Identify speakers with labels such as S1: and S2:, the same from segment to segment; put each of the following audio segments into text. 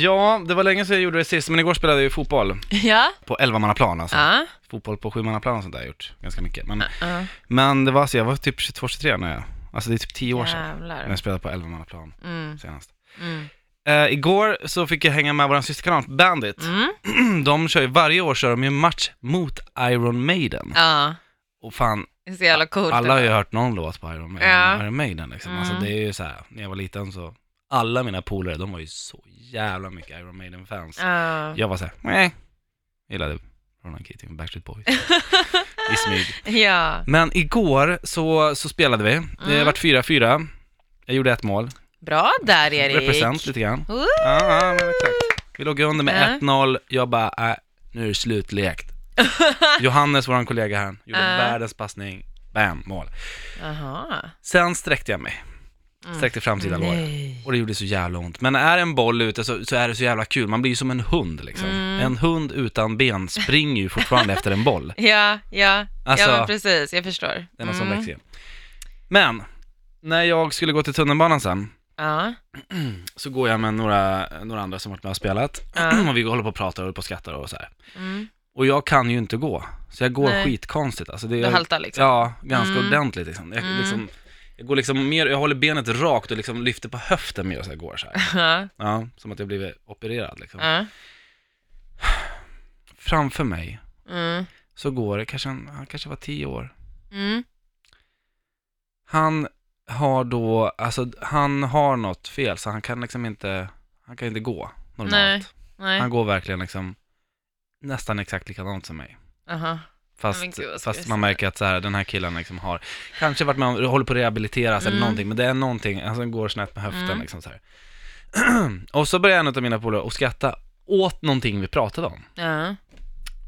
S1: Ja, det var länge sedan jag gjorde det sist, men igår spelade jag ju fotboll
S2: Ja.
S1: på 11-mannaplan alltså.
S2: Ja.
S1: Fotboll på 7-mannaplan och sånt där har jag gjort ganska mycket. Men,
S2: ja.
S1: men det var alltså, jag var typ 22-23 när jag, alltså det är typ 10 år sedan när
S2: Jävlar.
S1: jag spelade på 11-mannaplan
S2: Mm.
S1: senast.
S2: Mm.
S1: Eh, igår så fick jag hänga med vår systerkanal Bandit.
S2: Mm.
S1: De kör ju, varje år kör de ju match mot Iron Maiden.
S2: Ja.
S1: Och fan,
S2: Det är så jävla coolt.
S1: alla har ju hört någon låt på Iron Maiden.
S2: Ja.
S1: Iron Maiden liksom.
S2: Mm.
S1: Alltså det är ju så här, när jag var liten så, alla mina polare, de var ju så jävla mycket Iron Maiden-fans.
S2: Ja.
S1: Jag var såhär, nej. Gillade Ronan Keating och Backstreet Boys. I smyg.
S2: ja.
S1: Men igår så, så spelade vi. Det
S2: Mm.
S1: vart 4-4. Jag gjorde ett mål.
S2: Bra där Erik.
S1: Represent lite grann.
S2: Woo!
S1: Ja, ja, men exakt. Vi låg under med
S2: Ja.
S1: 1-0. Jag bara, äh, nu är det slutlekt. Johannes, vår kollega här, gjorde
S2: Ja.
S1: världens passning. Bam, mål.
S2: Jaha.
S1: Sen sträckte jag mig. Sträckte framsida lår.
S2: Mm. Nej.
S1: Och det gjorde så jävla ont. Men är en boll ute så, så är det så jävla kul. Man blir ju som en hund liksom.
S2: Mm.
S1: En hund utan ben springer ju fortfarande efter en boll.
S2: Ja, ja.
S1: Alltså-
S2: ja men precis, jag förstår.
S1: Det är något som
S2: Mm.
S1: växer in. Men, när jag skulle gå till tunnelbanan sen,
S2: Ja,
S1: så går jag med några, några andra som varit med och spelat.
S2: Ja.
S1: och vi håller på och pratar och håller på och skrattar och så här.
S2: mm.
S1: Och jag kan ju inte gå, så jag går
S2: Nej.
S1: skitkonstigt. Alltså det
S2: du
S1: är,
S2: haltar liksom.
S1: Ja, ganska
S2: Mm.
S1: ordentligt liksom. Jag,
S2: Mm.
S1: liksom. jag går liksom mer, jag håller benet rakt och liksom lyfter på höften mer så jag går så här.
S2: Ja,
S1: Ja, som att jag blivit opererad liksom.
S2: ja.
S1: Framför mig
S2: Mm.
S1: så går det, kanske en, han kanske var tio år.
S2: Mm.
S1: Han har då, alltså han har något fel så han kan liksom inte, han kan inte gå normalt.
S2: Nej. Nej.
S1: Han går verkligen liksom nästan exakt likadant som mig.
S2: Aha. Men
S1: Fast,
S2: gud, vad ska
S1: fast
S2: jag
S1: man
S2: säga?
S1: märker att så här, den här killen liksom har kanske varit med om, håller på att rehabiliteras eller
S2: Mm.
S1: någonting, men det är någonting, alltså han går snett med höften
S2: Mm.
S1: liksom så här. och så börjar en av mina polare att skratta åt någonting vi pratade om.
S2: Ja.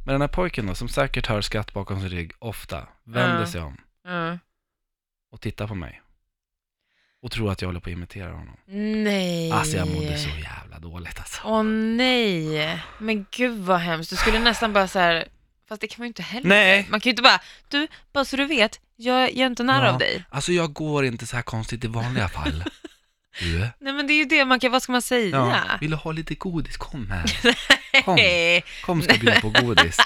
S1: Men den här pojken då, som säkert hör skratt bakom sin rygg ofta, vänder
S2: Ja.
S1: sig om
S2: Ja.
S1: och tittar på mig. Och tror att jag håller på att imitera honom.
S2: Nej.
S1: Alltså jag mådde så jävla dåligt alltså.
S2: Åh nej, men gud vad hemskt. Du skulle nästan bara så här, fast det kan man ju inte heller.
S1: Nej.
S2: Man kan ju inte bara, du, bara så du vet, jag, jag är inte nära
S1: Ja.
S2: av dig.
S1: Alltså jag går inte så här konstigt i vanliga fall. Du.
S2: Nej men det är ju det, man kan, vad ska man säga?
S1: Ja. Vill du ha lite godis? Kom här. Kom,
S2: Nej,
S1: kom ska jag bjuda på godis.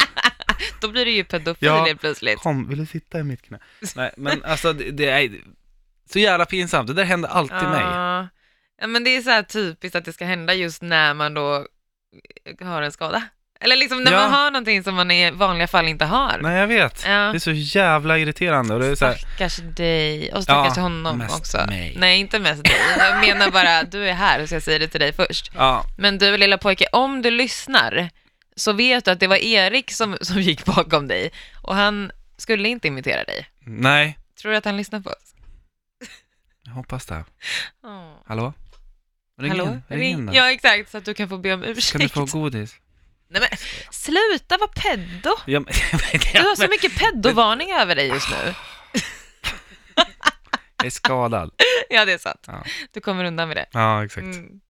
S2: då blir det ju pedofil
S1: Ja.
S2: helt plötsligt.
S1: Kom, vill du sitta i mitt knä? Nej, men alltså det, det är så jävla pinsamt. Det där händer alltid mig.
S2: Ja. Ja, men det är så här typiskt att det ska hända just när man då eh, har en skada. Eller liksom när
S1: Ja.
S2: man har någonting som man i vanliga fall inte har.
S1: Nej jag vet.
S2: Ja.
S1: Det är så jävla irriterande och det är så här,
S2: Stackars dig och stackars
S1: Ja,
S2: honom
S1: mest
S2: också.
S1: mig.
S2: Nej, inte mest dig. Jag menar bara, du är här så jag säger det till dig först.
S1: ja,
S2: Men du lilla pojke, om du lyssnar så vet du att det var Erik som, som gick bakom dig och han skulle inte imitera dig.
S1: nej,
S2: Tror du att han lyssnar på oss?
S1: jag hoppas det.
S2: Åh.
S1: Hallå? Ring
S2: Hallå?
S1: in, ring in då.
S2: Ja, exakt, så att du kan få be om ursäkt.
S1: Kan du få godis?
S2: Nej, men, sluta vara peddo!
S1: Ja, men,
S2: Du har så mycket peddovarning över dig just nu.
S1: jag är skadad.
S2: Ja, det är sant.
S1: Ja.
S2: Du kommer undan med det.
S1: Ja, exakt.
S2: Mm.